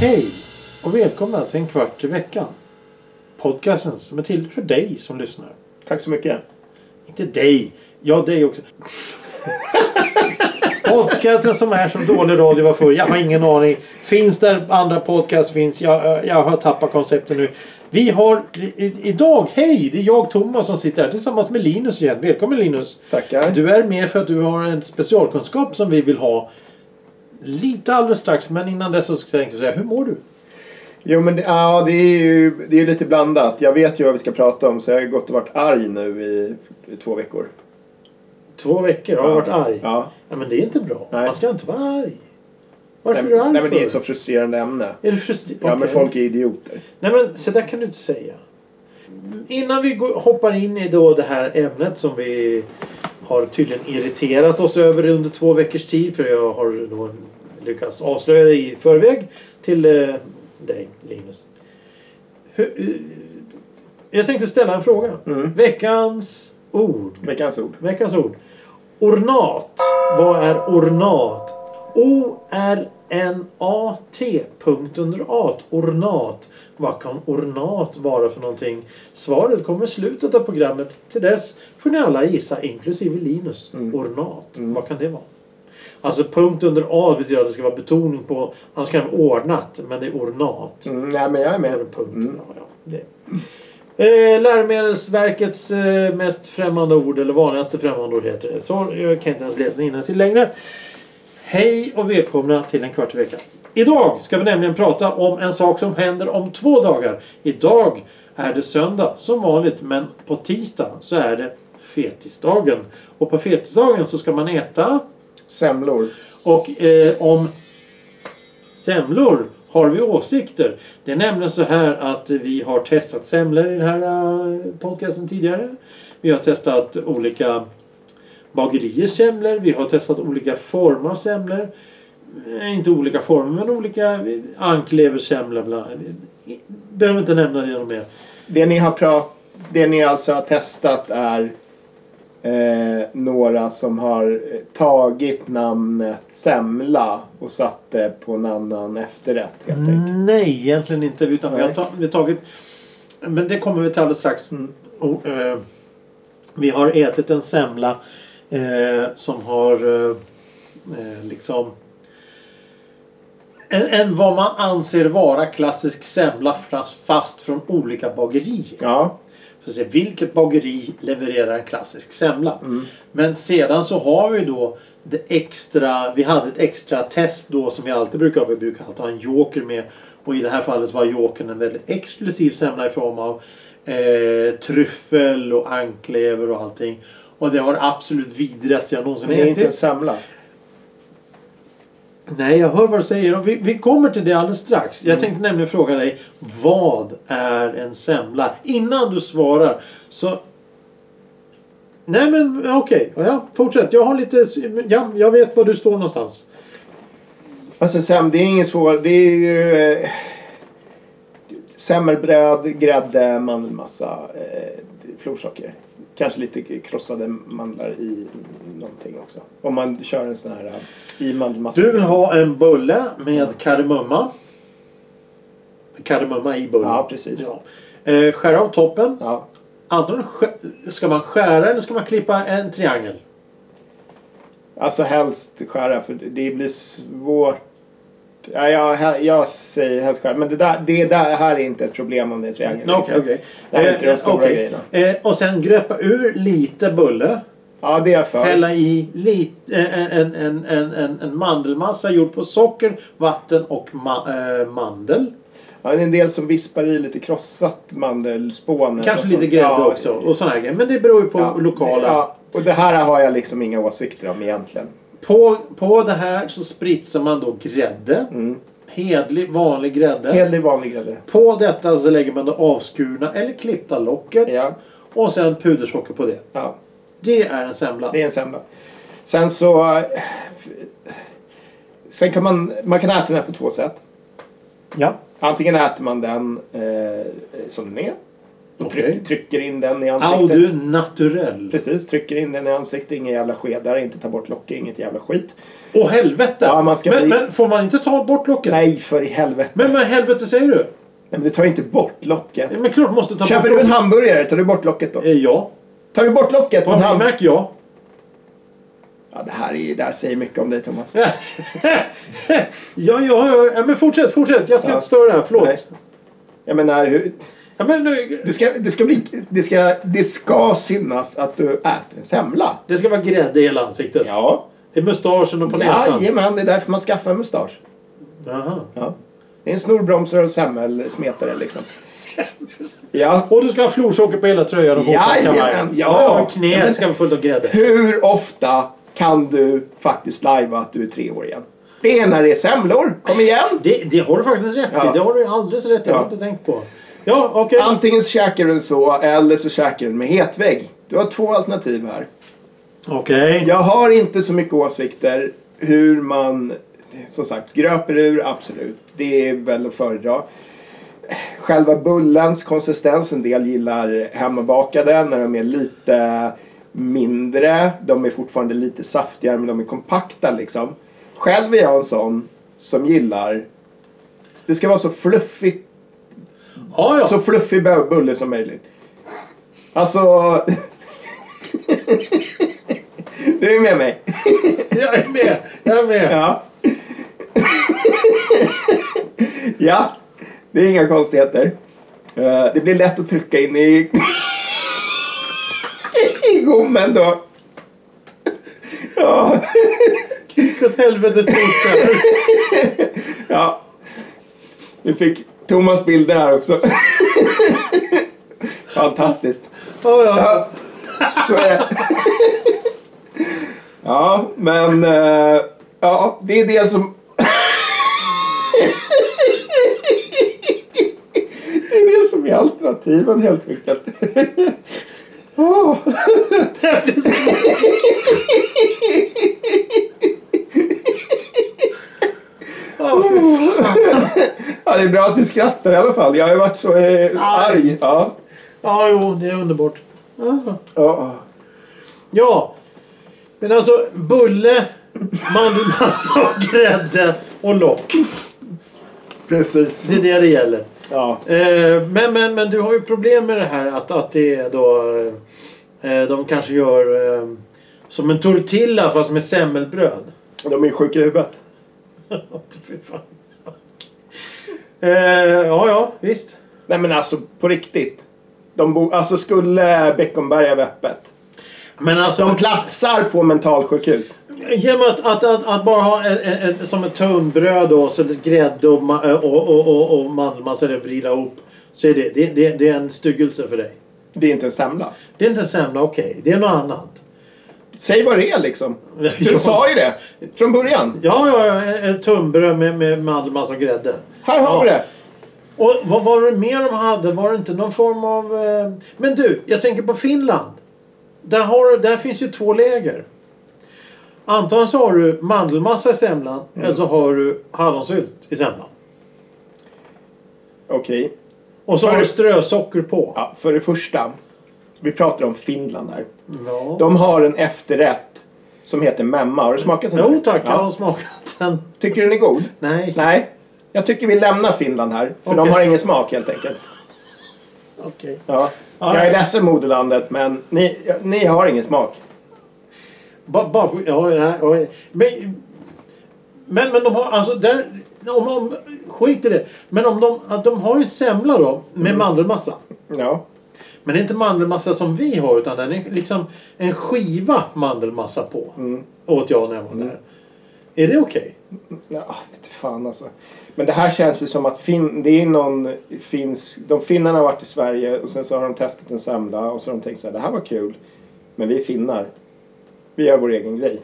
Hej och välkomna till en kvart i veckan. Podcasten som är till för dig som lyssnar. Tack så mycket. Inte dig. Ja, dig också. Podcasten som är som dålig radio var förr. Jag har ingen aning. Finns där andra podcast finns. Jag, jag har tappat konceptet nu. Vi har i- i- idag, hej, det är jag Thomas som sitter här tillsammans med Linus igen. Välkommen Linus. Tackar. Du är med för att du har en specialkunskap som vi vill ha. Lite alldeles strax, men innan dess så ska jag säga, hur mår du? Jo men det- ja, det är ju det är ju lite blandat. Jag vet ju vad vi ska prata om så jag har gått och varit arg nu i, i två veckor. Två veckor har jag varit arg. Ja. Ja. men det är inte bra. Nej. Man ska inte vara arg. Varför nej, är du arg nej men det är för? så frustrerande ämne. Är du frustrerad? Ja men folk är idioter. Nej men så där kan du inte säga. Innan vi går- hoppar in i då det här ämnet som vi har tydligen irriterat oss över under två veckors tid. För jag har då lyckats avslöja det i förväg till eh, dig Linus. Hur, eh, jag tänkte ställa en fråga. Mm. Veckans ord. Veckans ord. Veckans ord. Ornat. Vad är ornat? O-R-N-A-T. Punkt under at. Ornat. Vad kan ornat vara för någonting? Svaret kommer i slutet av programmet. Till dess får ni alla gissa, inklusive Linus. Ornat. Vad kan det vara? Alltså punkt under a betyder att det ska vara betoning på... Annars kan det vara ordnat, men det är ornat. Mm, nej men jag är Med med. en punkt. Ja, ja, det. Eh, Läromedelsverkets eh, mest främmande ord eller vanligaste främmande ord heter det. Så jag kan inte ens läsa innantill längre. Hej och välkomna till en kvart i veckan. Idag ska vi nämligen prata om en sak som händer om två dagar. Idag är det söndag som vanligt men på tisdag så är det fetisdagen. Och på fetisdagen så ska man äta Semlor. och eh, om semlor har vi åsikter. Det är nämligen så här att vi har testat semlor i den här eh, podcasten tidigare. Vi har testat olika bageriers semlor. Vi har testat olika former av semlor. Eh, Inte olika former men olika eh, ankleversemlor. bland- eh, Behöver inte nämna det något mer. Det ni har prat... Det ni alltså har testat är eh, några som har eh, tagit namnet semla och satt det på en annan efterrätt helt Mm. enkelt. Nej, egentligen inte. Utan vi, har Nej. ta, vi har tagit... Men det kommer vi till alldeles strax. Och, eh, vi har ätit en semla eh, som har eh, eh, liksom... En, en vad man anser vara klassisk semla fast, fast från olika bagerier. Ja. För att se vilket bageri levererar en klassisk semla. Mm. Men sedan så har vi då det extra, vi hade ett extra test då som vi alltid brukar ha. Vi brukar alltid ha en joker med. Och i det här fallet så var jokern en väldigt exklusiv semla i form av eh, tryffel och anklever och allting. Och det var det absolut vidrigaste jag någonsin Men det är inte en ätit. semla. Nej, jag hör vad du säger. Och vi, vi kommer till det alldeles strax. Jag tänkte nämligen fråga dig. Vad är en semla? Innan du svarar så... Nej men okej. Ja, fortsätt. Jag har lite... Ja, jag vet var du står någonstans. Alltså sem, det är inget svårt. Det är ju eh, semmelbröd, grädde, mandelmassa, eh, florsocker. Kanske lite krossade mandlar i någonting också. Om man kör en sån här eh, i mandelmassa. Du vill ha en bulle med kardemumma. Kardemumma i bullen. Ja, precis. Ja. Eh, skär av toppen. Ja. Antingen skär, ska man skära eller ska man klippa en triangel? Alltså helst skära för det blir svårt. Ja, jag, he- jag säger helst skära. Men det, där, det där här är inte ett problem om det är triangel. Okej, okej. Det här är inte de Eh, stora okej. grejerna. Eh, och sen gröpa ur lite bulle. Ja, det är jag för. Hälla i lite, eh, en, en, en, en, en mandelmassa gjord på socker, vatten och ma, eh, mandel. Ja, det är en del som vispar i lite krossat mandelspån. Kanske Och lite sånt. grädde Ja, också och såna här grejer. Men det beror ju på ja, lokala. Ja, och det här har jag liksom inga åsikter om egentligen. På, på det här så spritsar man då grädde. Mm. Hedlig vanlig grädde. Hellre vanlig grädde. På detta så lägger man då avskurna eller klippta locket. Ja, Och sen pudersocker på det. ja, Det är en semla. det är en semla. Sen så... eh, Sen kan man, man kan äta den här på två sätt. Ja. Antingen äter man den eh, som den är. Och Okej. tryck, trycker in den i ansiktet. Au, du är naturell. Precis, trycker in den i ansiktet. Inga jävla skedar, inte ta bort locket, inget jävla skit. Åh helvete! Ja, man ska men, bli- men får man inte ta bort locket? Nej, för i helvete. Men vad i helvete säger du? Nej, men du tar ju inte bort locket. Men klart måste ta Köper bort du en locket. hamburgare, tar du bort locket då? Eh, Ja. Tar du bort locket På på en en Big hamburgare? Mac, ja. Ja, det här, är, ju- det här säger mycket om dig, Thomas. ja, ja, ja, ja. Men fortsätt, fortsätt. Jag ska Ja. inte störa. här. Nej. Förlåt. Jag menar, hur, Ja, men, eh, det, ska, det, ska bli, det, ska, det ska synas att du äter en semla. det ska vara grädde i hela ansiktet. Ja. I mustaschen och på näsan. Jajamän, det är därför man skaffar en mustasch. Jaha. Ja. Det är en snorbromsare och semmelsmetare liksom. Ja. Och du ska ha florsocker på hela tröjan och skjortan, Jajamän, kavajen. ja. Och knät Ja, men- ska vara fullt av grädde. Hur ofta kan du faktiskt lajva att du är tre år igen? Det är när det är semlor. Kom igen! Det, det har du faktiskt rätt Ja. i. Det har du alldeles rätt i. Det har jag Ja. inte tänkt på. Ja, okej. Antingen så käkar du den så eller så käkar du den med hetvägg. Du har två alternativ här. Okej. Jag har inte så mycket åsikter hur man, som sagt, gröper ur, absolut. Det är väl att föredra. Själva bullens konsistens, en del gillar hemmabakade när de är lite mindre. De är fortfarande lite saftigare men de är kompakta liksom. Själv är jag en sån som gillar, det ska vara så fluffigt Ja, ja. så fluffig bö- bulle som möjligt. Alltså... du är med mig. Jag är med. Jag är med. Ja. ja. Det är inga konstigheter. Eh, det blir lätt att trycka in i... I gommen då. Ja. Gick åt helvete fort där. ja. Nu fick Thomas bilder här också. Fantastiskt. Ja, ja. Ja, så är det. Ja, men... eh, Ja, det är det som... Det är det som är alternativen helt enkelt. Åh, Det här blir så- Ja, fy fan. Ja, det är bra att vi skrattar i alla fall. Jag har ju varit så eh, arg. Ja. Ja, jo, det är underbart. Ja. Ja. Ja. Men alltså, bulle, mandelmassa och grädde och lock. Precis. Det är det det gäller. Ja. Eh, men, men, men du har ju problem med det här att, att det är då... Eh, de kanske gör eh, som en tortilla fast med semmelbröd. De är sjuka i huvudet. Fy fan. eh, ja, ja, visst. Nej men alltså på riktigt. De bo, alltså skulle Beckomberga vara öppet. Men alltså... De platsar på mentalsjukhus. Genom att, att, att, att bara ha en, en, en, som ett tunnbröd och så lite grädde och, ma- eh, och, och, och, och mandelmassa eller vrida ihop. Så är det, det, det, det är en styggelse för dig. Det är inte en semla. Det är inte semla, okej. Det är något annat. Säg vad det är liksom. Ja. Du sa ju det från början. Ja, ja, ja. Ett ett tunnbröd med, med mandelmassa och grädde. Här har Ja. vi det. Och vad var det mer de hade? Var det inte någon form av... Eh... Men du, jag tänker på Finland. Där, har, du- där finns ju två läger. Antagligen så har du mandelmassa i semlan eller så har du hallonsylt i semlan. Okej. Och så För- har du strösocker på. Ja, för det första. Vi pratar om Finland här. Ja. De har en efterrätt som heter memma. Har du smakat den? här? Jo tack, Ja. jag har smakat den. Tycker du den är god? Nej. Nej. Jag tycker vi lämnar Finland här. För de Okej. har ingen smak helt enkelt. Okej. Ja. Ja. Jag är ledsen moderlandet men ni, ja, ni har ingen smak. Ba, ba, ja, ja, ja. Men, men, men de har alltså där... Om, om, skit i det. Men om de, att de har ju semla då med mandelmassa. Ja. Men det är inte mandelmassa som vi har utan den är liksom en skiva mandelmassa på. Åt jag när jag var där. Är det okej? Ja, inte fan alltså. Men det här känns ju som att fin, det är någon finsk... De finnarna har varit i Sverige och sen så har de testat en semla och så har de tänkt så här, det här var kul. Men vi är finnar. Vi gör vår egen grej.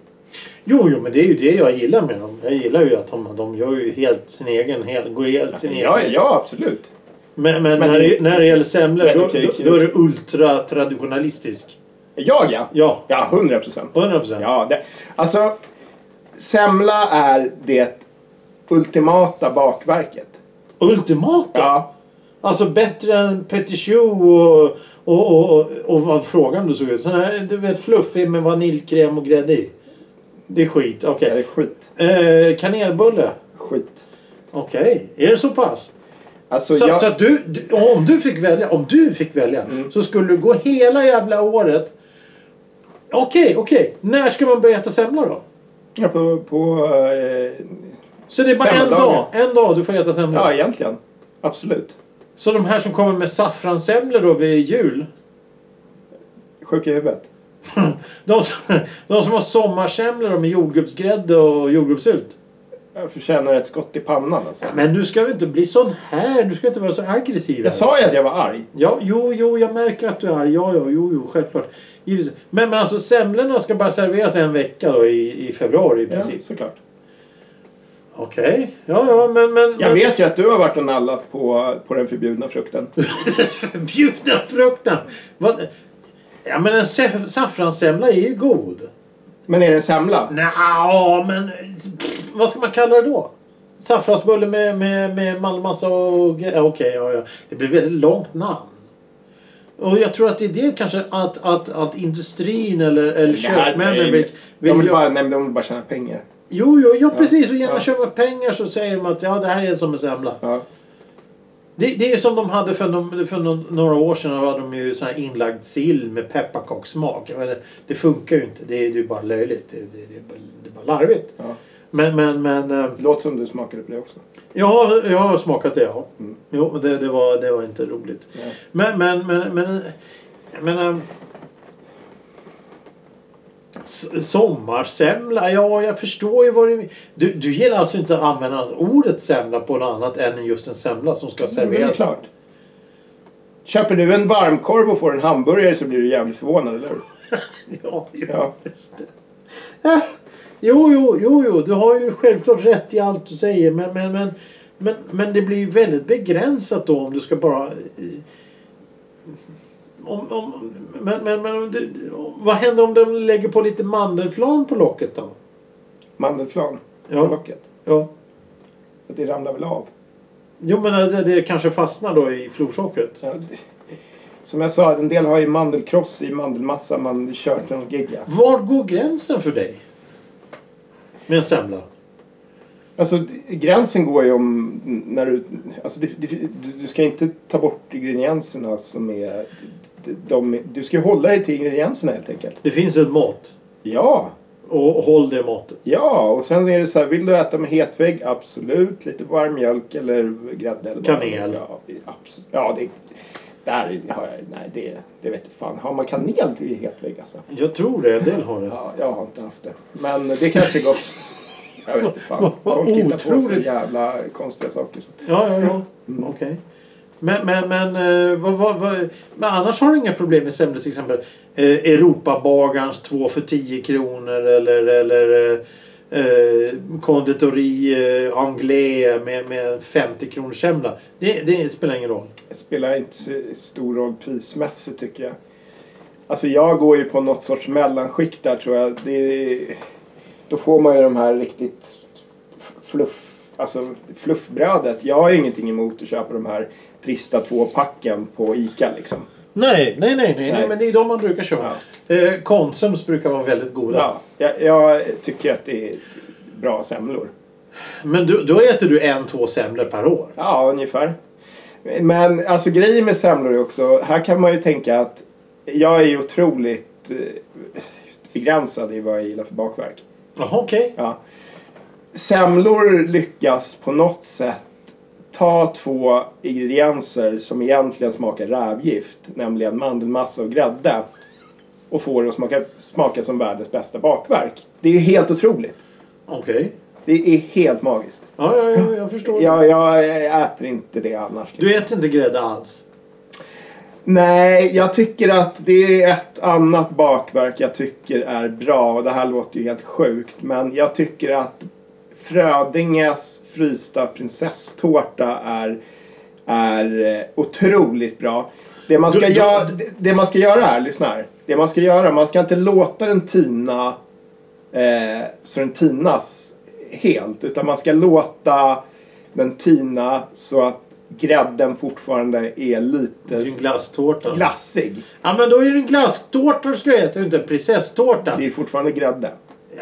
Jo, jo, men det är ju det jag gillar med dem. Jag gillar ju att de, de gör ju helt sin egen, helt, går helt sin Ja, egen ja absolut. Men, men, Men när, det- det, när det gäller semlor Men då, okej, då, okej. då är det ultra-traditionalistisk. Jag ja! Ja, Ja, hundra procent. 100%. Ja, det, alltså. semla är det ultimata bakverket. Ultimata? Ja. Alltså bättre än petit choux och, och, och, och, och vad frågan du såg ut. Sån här, du vet fluffig med vaniljkräm och grädde i. Det är skit. Det är Okej. skit. Eh, kanelbulle. Skit. Okej. Är det så pass? Alltså, Så, så, jag, Mm. att du, du, om du fick välja, om du fick välja så skulle du gå hela jävla året. Okej, okej. När ska man börja äta semla då? ja, på, på, eh, Så det är bara en Semmeldagar. dag, en dag du får äta semla. ja, egentligen. Absolut. Så de här som kommer med saffranssemlor då vid jul. Sjuk i huvudet. De som, de som har sommarsemlor då med jordgubbsgrädde och jordgubbssylt. Jag förtjänar ett skott i pannan alltså. Men nu ska du inte bli sån här. Du ska inte vara så aggressiv. Jag här. sa ju att jag var arg. Ja, jo, jo, jag märker att du är arg. Ja, ja, jo, jo, självklart. Givetvis. Men, men alltså semlorna ska bara serveras en vecka då i, i februari i Ja, princip. såklart. Okej. Ja, ja, men... men Jag men, vet ju att du har varit och nallat på, på den förbjudna frukten. Förbjudna frukten! Vad? Ja, men en se- saffranssemla är ju god. Men är det en semla? Nja, men... pff, Vad ska man kalla det då? Saffransbulle med, med, med mandelmassa och... gre- ja, Okej, ja, ja. Det blir väldigt långt namn. Och jag tror att det är det kanske att, att, att industrin eller, eller Det här är köpmännen vill... ju- De vill vill ju, bara, nej, men de vill bara tjäna pengar. jo, jo, ja, precis. Och genom ja. att köpa pengar så säger de att ja, det här är som en semla. Ja. Det, det är som de hade för, de, för någon, några år sedan. Då hade de ju sån här inlagd sill med pepparkakssmak. Jag menar, Det funkar ju inte. Det är, det är bara löjligt. Det, det, det, är bara, det är bara larvigt. Ja. Men, men, men... eh, Låt som du smakade på det också. Jag har, jag har smakat det ja. Mm. Jo, men det, det, var, det var inte roligt. Nej. Men, men, men, men, jag menar... s- Sommarsemla, ja jag förstår ju vad du Du, du gillar alltså inte att använda ordet semla på något annat än just en semla som ska Det är serveras. klart. Köper du en varmkorv och får en hamburgare så blir du jävligt förvånad, eller hur? Ja, ju- Ja. Just det. Äh, Jo, jo, jo, jo, du har ju självklart rätt i allt du säger men, men, men, men, men det blir ju väldigt begränsat då om du ska bara... eh, Om, om, men men, men om du, vad händer om de lägger på lite mandelflan på locket då? Mandelflan på Ja, locket. ja. Att det ramlar väl av. Jo men det, det kanske fastnar då i florsockret. Ja, det- Som jag sa, en del har ju mandelkross i mandelmassa, mandelkörteln och gegga. Var går gränsen för dig? Med en semla? Alltså d- gränsen går ju om när du... Alltså det, det, du, du ska inte ta bort ingredienserna som är... d- De, du ska ju hålla dig till ingredienserna helt enkelt. Det finns ett mått. Ja! Och, och håll det måttet. Ja, och sen är det så här, vill du äta med hetvägg? Absolut. Lite varm mjölk eller grädde eller vad man vill. Kanel. Ja, absolut. Ja, det... Där har jag... Nej, det, det vet jag fan. Har man kanel till hetvägg alltså? Jag tror det, en del har det. Ja, jag har inte haft det. Men det kanske är gott. Jag vet inte fan. Vad- vad Folk hittar på så otroligt. jävla konstiga saker. Ja, ja, ja. Okej. Men, men, men, eh, vad, vad, vad, men annars har du inga problem med semlor till exempel eh, Europabagarens två för 10 kronor eller, eller eh, eh, konditori eh, anglais med, med 50 kronors semla. Det, det spelar ingen roll. Det spelar inte så stor roll prismässigt tycker jag. Alltså jag går ju på något sorts mellanskikt där tror jag. Det är, då får man ju de här riktigt f- fluff, alltså fluffbrödet. Jag har ju ingenting emot att köpa de här trista tvåpacken på ICA liksom. Nej, nej, nej, nej, Nej. nej. men det är de man brukar köpa. Eh, Konsums brukar vara väldigt goda. Ja, jag, jag tycker att det är bra semlor. Men du, då äter du en, två semlor per år. Ja, ungefär. Men alltså grejen med semlor är också, här kan man ju tänka att jag är ju otroligt eh, begränsad i vad jag gillar för bakverk. Jaha, okej. Ja. Semlor lyckas på något sätt ta två ingredienser som egentligen smakar rävgift, nämligen mandelmassa och grädde och få det att smaka, smaka som världens bästa bakverk. Det är ju helt otroligt. Okej. Det är helt magiskt. Ja, ja, ja, jag förstår. Jag, jag äter inte det annars. Du äter inte grädde alls? Nej, jag tycker att det är ett annat bakverk jag tycker är bra. Och det här låter ju helt sjukt. Men jag tycker att Frödinges frysta prinsesstårta är, är eh, otroligt bra. Det man, ska Du- du- göra, det, det man ska göra här, lyssna här. Det man ska göra, man ska inte låta den tina eh, så den tinas helt. Utan man ska låta den tina så att grädden fortfarande är Det är ju lite en glasstårta. glassig. Ja men då är det en glasstårta du ska äta, inte en prinsesstårta. Det är fortfarande grädde.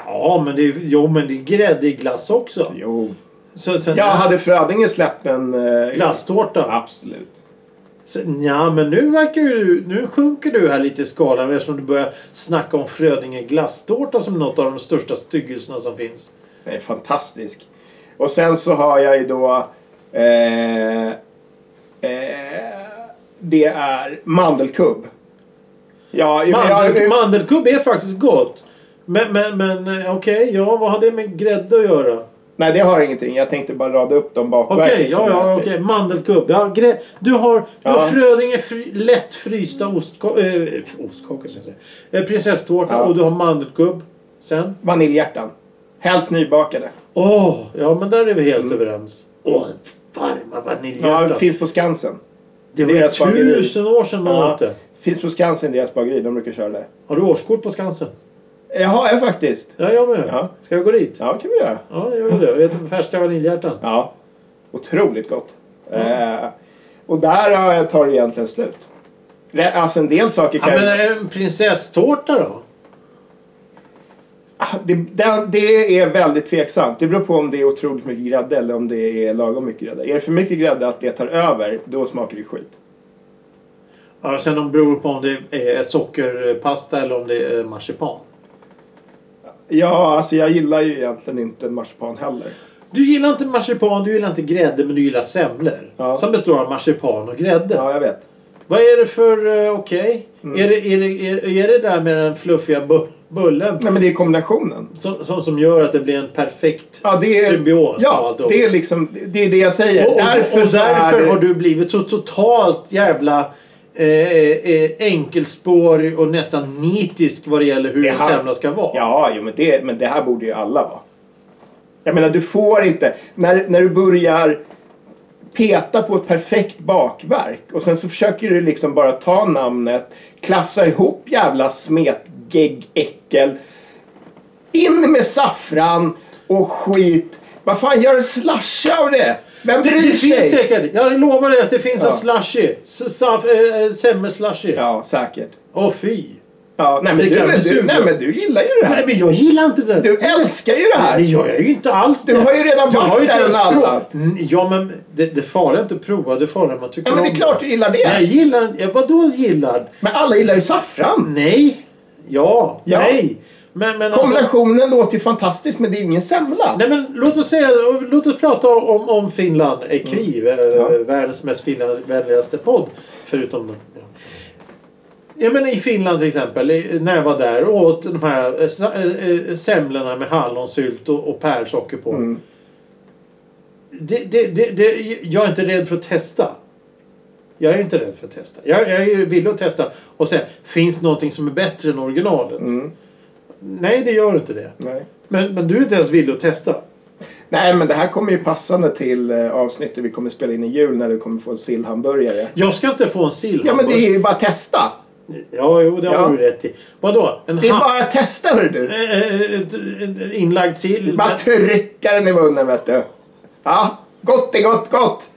Ja men det är, jo, men det är grädde i glass också. Jo. Så, sen, Ja, hade Frödinge släppt en... Eh, Glasstårta. Absolut. Sen, ja men nu verkar ju du, nu sjunker du här lite i skalan eftersom du börjar snacka om Frödinge glasstårta som något av de största styggelserna som finns. Den är fantastisk. Och sen så har jag ju då... Eh, eh, det är mandelkubb. Ja, jag- Mandel, jag- mandelkubb är faktiskt gott. Men, men, men eh, okej, ja vad har det med grädde att göra? nej, det har ingenting. Jag tänkte bara rada upp dem Okej, bakverken. ja, som jag ja, äter. okej. Mandelkubb. Ja, grä... Du har, du har Ja. Frödinge fri... lätt frysta ostkakor. Eh, ostkakor ska jag säga. Eh, prinsesstårta Ja. och du har mandelkubb. Sen. Vaniljhjärtan. Helst nybakade. Åh, ja men där är vi helt överens. Åh, den varma vaniljhjärtan. Mm. Ja, finns på Skansen. det var ju deras bageri. tusen år sedan man Ja. åt det. Finns på Skansen, deras bageri. De brukar köra det. Har du årskort på Skansen? Jag har jag faktiskt. Ja, jag med. Ja. Ska jag gå dit? Ja, kan vi göra. Ja, jag gör det. Jag äter färska vaniljhjärtan. Ja. Otroligt gott. Eh, och där har jag- tar det egentligen slut. Re- Alltså en del saker Ja, kan men eh, är det en prinsesstårta då? Ah, Det, det, det är väldigt tveksamt. Det beror på om det är otroligt mycket grädde eller om det är lagom mycket grädde. Är det för mycket grädde att det tar över, då smakar det skit. Ja, sen om det beror på om det är sockerpasta eller om det är marsipan. Ja, alltså jag gillar ju egentligen inte marsipan heller. Du gillar inte marsipan, du gillar inte grädde, men du gillar semlor. Ja. Som består av marsipan och grädde. Ja, Mm. jag vet. Vad är det för... eh, Okej? Är, det, är, det, är, är det där med den fluffiga bu- bullen Nej, men det är kombinationen. som, som, som gör att det blir en perfekt Ja, det är, symbios? av Ja, allt och- det är liksom, det är det jag säger. och, och, därför, och så är därför det- har du blivit så totalt jävla eh, eh, enkelspårig och nästan nitisk vad det gäller hur Det en har- semla ska vara. Ja, jo, men, det, men det här borde ju alla vara. Jag menar, du får inte... När, när du börjar peta på ett perfekt bakverk och sen så försöker du liksom bara ta namnet, klafsa ihop jävla smetgeggäckel, in med saffran och skit. Vad fan, gör en slasha av det? Vem Det, bryr det finns sig? säkert. Jag lovar dig att det finns Ja. en slushy. S- saf- eh, eh, Semmel-slushy. Åh Ja, säkert. fy. Ja, nej, men Det kan du, bli du, sugen. nej, men du gillar ju det Nej här. men jag gillar inte det där. Du älskar ju det här. Det gör jag ju inte alls Du har ju redan Jag varit har ju inte där ens än alla. provat. Mm, Ja men det, det farliga är inte att prova. Det farliga är att man tycker Ja, men det om är klart du gillar det. Nej, Jag gillar inte. ja, Vadå gillar? Men alla gillar ju saffran. Nej. Ja. Ja. Nej. Men, men Mm. alltså, Kombinationen låter ju fantastisk men det är ingen semla. Nej men låt oss säga, låt oss prata om, om Finland. Ekviv, eh, Mm. Ja. världens mest finländska podd. Förutom den. Ja. Jag menar i Finland till exempel, i- när jag var där och åt de här eh, sa- eh, eh, semlorna med hallonsylt och, och pärlsocker på. Mm. Det, det, det, det, jag är inte rädd för att testa. Jag är inte rädd för att testa. Jag, jag är villig att testa och säga, finns någonting som är bättre än originalet? Mm. Nej, det gör inte det. Nej. Men, men du är inte ens villig att testa. Nej men det här kommer ju passande till eh, avsnittet vi kommer spela in i jul när du kommer få en sillhamburgare. Jag ska inte få en sill. Ja men det är ju bara att testa. ja jo, det har Ja. du rätt i. Vadå? En Det är ha- bara att testa hörru du. eh, eh, eh, eh, inlagd sill? Bara trycka den i munnen vet du. Ja, gott är gott gott.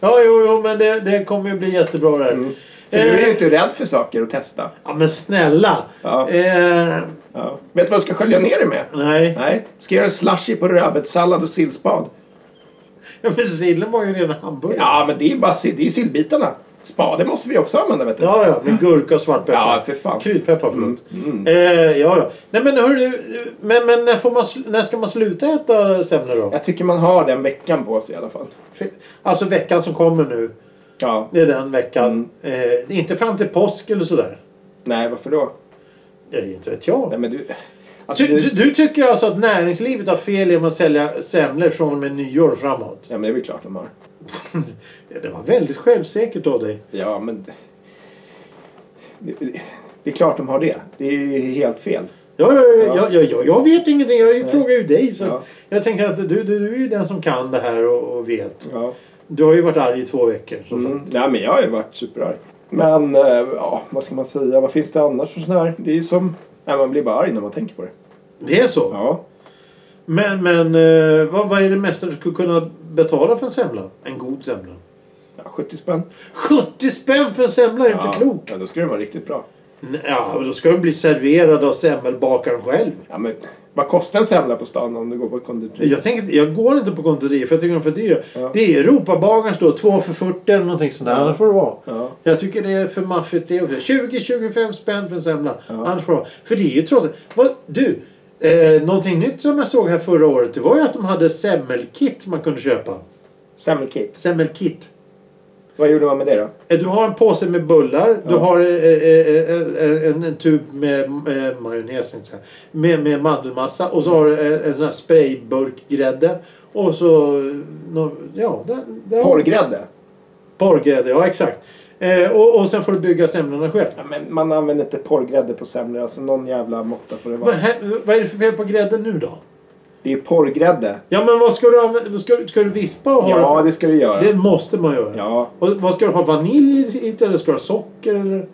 Ja, jo, jo, men det, det kommer ju bli jättebra där. Mm. För du är ju Eh, inte rädd för saker att testa. ja, men snälla. Ja. Eh, Ja. Vet du vad du ska skölja ner det med? nej. Nej, ska göra en slushy på rödbetssallad och sillspad. Ja, men sillen var ju redan hamburgare. Ja men det är bara sill, det är ju sillbitarna. Spaden måste vi också använda vet du. Ja, ja, med gurka och svartpeppar. Ja, för fan. Mm, Kryddpeppar, förlåt. Eh, ja, ja. Nej, men hörru, men, men när, får man, sl- när ska man sluta äta semlor då? Jag tycker man har den veckan på sig i alla fall. För- Alltså veckan som kommer nu. Ja. Det är den veckan. Mm. Eh, inte fram till påsk eller sådär. Nej, varför då? Nej, inte vet jag. Nej, men du... Alltså, Du, du... du, du tycker alltså att näringslivet har fel genom att sälja semlor från och med nyår framåt? Ja, men det är väl klart de har. Ja, det var väldigt självsäkert av dig. Ja, men... Det, det är klart de har det. Det är ju helt fel. Ja, ja, ja, ja. Ja, ja, jag vet ingenting. Jag frågar ju dig. Så Ja. Jag tänker att du, du, du är ju den som kan det här och, och vet. Ja. Du har ju varit arg i två veckor. Så Mm. Nej, men jag har ju varit superarg. Men, eh, ja, vad ska man säga? Vad finns det annars för sån här? Det är ju som... Nej, man blir bara arg när man tänker på det. Det är så? Ja. Men, men eh, vad, vad är det mesta du skulle kunna betala för en semla? En god semla. ja 70 spänn. 70 spänn för en semla är inte ja. klok! Ja, då ska det vara riktigt bra. Nej, Ja, men då ska den bli serverad av semmelbakaren själv. Ja, men vad kostar en semla på stan om du går på konditori? Jag, tänker, jag går inte på konditorier för jag tycker de är för dyra. Ja. Det är Europabagarens då, 2 för 40 eller någonting sånt där. Ja. Annars får det vara. Ja. Jag tycker det är för maffigt det också. 20-25 spänn för en semla. Ja. Annars får det vara. För det är ju trots allt- vad, Du! Eh, någonting nytt som jag såg här förra året det var ju att de hade semmelkit man kunde köpa. Semmelkit. Semmelkit. Vad gjorde man med det då? Eh, Du har en påse med bullar. Du Ja. har eh, eh, eh, en, en tub med eh, majonnäs. tänkte jag säga. Med, med mandelmassa. Och så har du eh, en, en sån här sprayburk grädde. Och så... eh, nå- Ja, där, där har du- Porrgrädde? Porrgrädde, ja exakt. Eh, och, och sen får du bygga semlorna själv. Ja, men man använder inte porrgrädde på semlor. Alltså någon jävla måtta får det Vad, vara. hä- vad är det för fel på grädden nu då? Det är porrgrädde. Ja men vad ska du använda? Ska, ska du vispa och ha Ja, det ska du göra. det? Det måste man göra. Ja. Och vad ska du ha? Vanilj i eller ska du ha socker eller?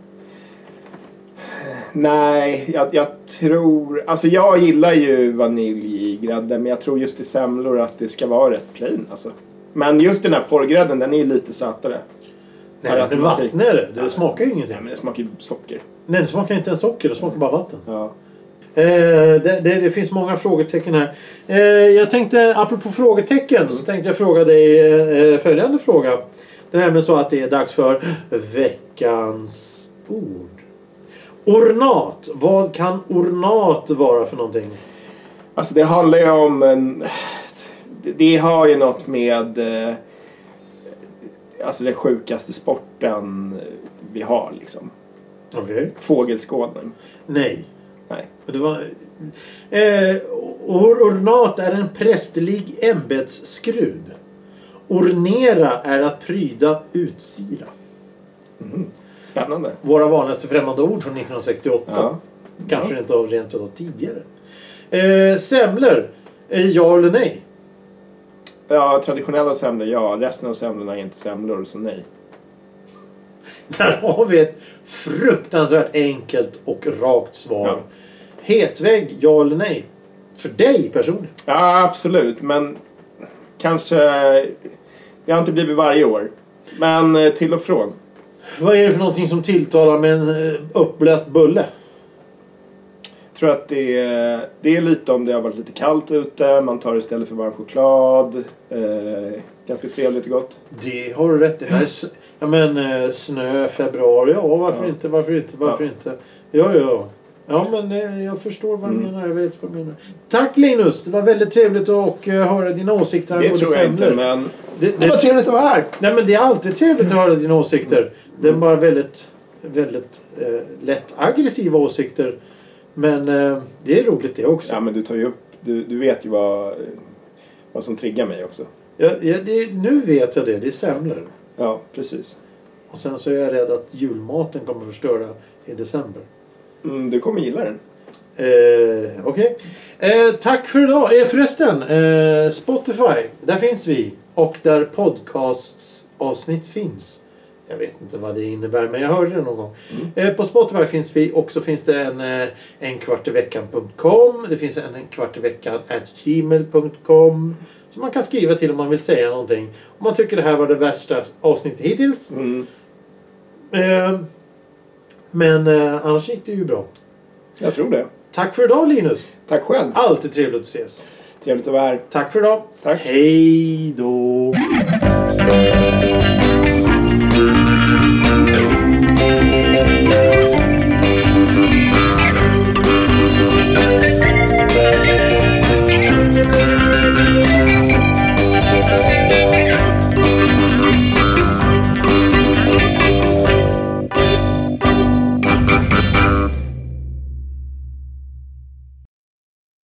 Nej, jag, jag tror... Alltså jag gillar ju vanilj i grädde men jag tror just i semlor att det ska vara rätt plain alltså. Men just den här porrgrädden den är ju lite sötare. Nej, det är vatten är det. Det smakar ju ingenting. Nej men det smakar ju socker. Nej, det smakar inte ens socker. Det smakar bara vatten. Ja. Eh, det, det, det finns många frågetecken här. Eh, jag tänkte, apropå frågetecken, så tänkte jag fråga dig eh, eh, följande fråga. Det är nämligen så att det är dags för veckans ord. Ornat. Vad kan ornat vara för någonting? Alltså det handlar ju om en... det- Det har ju något med... eh, Alltså den sjukaste sporten vi har liksom. Okej. Fågelskådning. Nej. Nej. Det var, eh, or, ornat är en prästerlig ämbetsskrud. Ornera är att pryda utsida. Spännande. Våra vanligaste främmande ord från 1968. Ja. Kanske inte av rent utav tidigare. Eh, semlor. Eh, ja eller nej? Ja, traditionella semlor ja. Resten av semlorna är inte semlor så nej. Där har vi ett fruktansvärt enkelt och rakt svar. Ja. Hetvägg. Ja eller nej? För dig personligen. Ja, absolut. Men kanske... Det har inte blivit varje år. Men eh, till och från. Vad är det för någonting som tilltalar med en eh, uppblött bulle? Jag tror att det är, det är lite om det har varit lite kallt ute. Man tar istället för varm choklad. Eh, ganska trevligt och gott. Det har du rätt i. När det s- ja, men, eh, snö, februari. Ja, varför Ja. inte? Varför inte? Varför Ja. inte? Ja, ja. Ja, men eh, jag förstår vad du Mm. menar. Jag vet vad du menar. Tack Linus! Det var väldigt trevligt att och, eh, höra dina åsikter Det angående tror jag inte, semlor. men... Det, Det var det, trevligt att vara här! Mm. nej, men det är alltid trevligt att höra dina åsikter. Det är bara väldigt, väldigt eh, lätt aggressiva åsikter. Men eh, det är roligt det också. Ja, men du tar ju upp... Du, du vet ju vad, vad som triggar mig också. Jag, jag, det, nu vet jag det. Det är semlor. Ja, precis. Och sen så är jag rädd att julmaten kommer förstöra i december. Mm, du kommer gilla den. Eh, Okej. Eh, tack för idag. Eh, förresten, eh, Spotify. Där finns vi. Och där podcasts avsnitt finns. Jag vet inte vad det innebär men jag hörde det någon gång. Eh, på Spotify finns vi och så finns det en eh, enkvartiveckan.com. Det finns en enkvartiveckan at gmail.com. Så man kan skriva till om man vill säga någonting. Om man tycker det här var det värsta avsnittet hittills. Mm, Eh, men eh, annars gick det ju bra. jag tror det. Tack för idag Linus. Tack själv. Alltid trevligt att ses. Trevligt att vara här. Tack för idag. Tack. Hej då.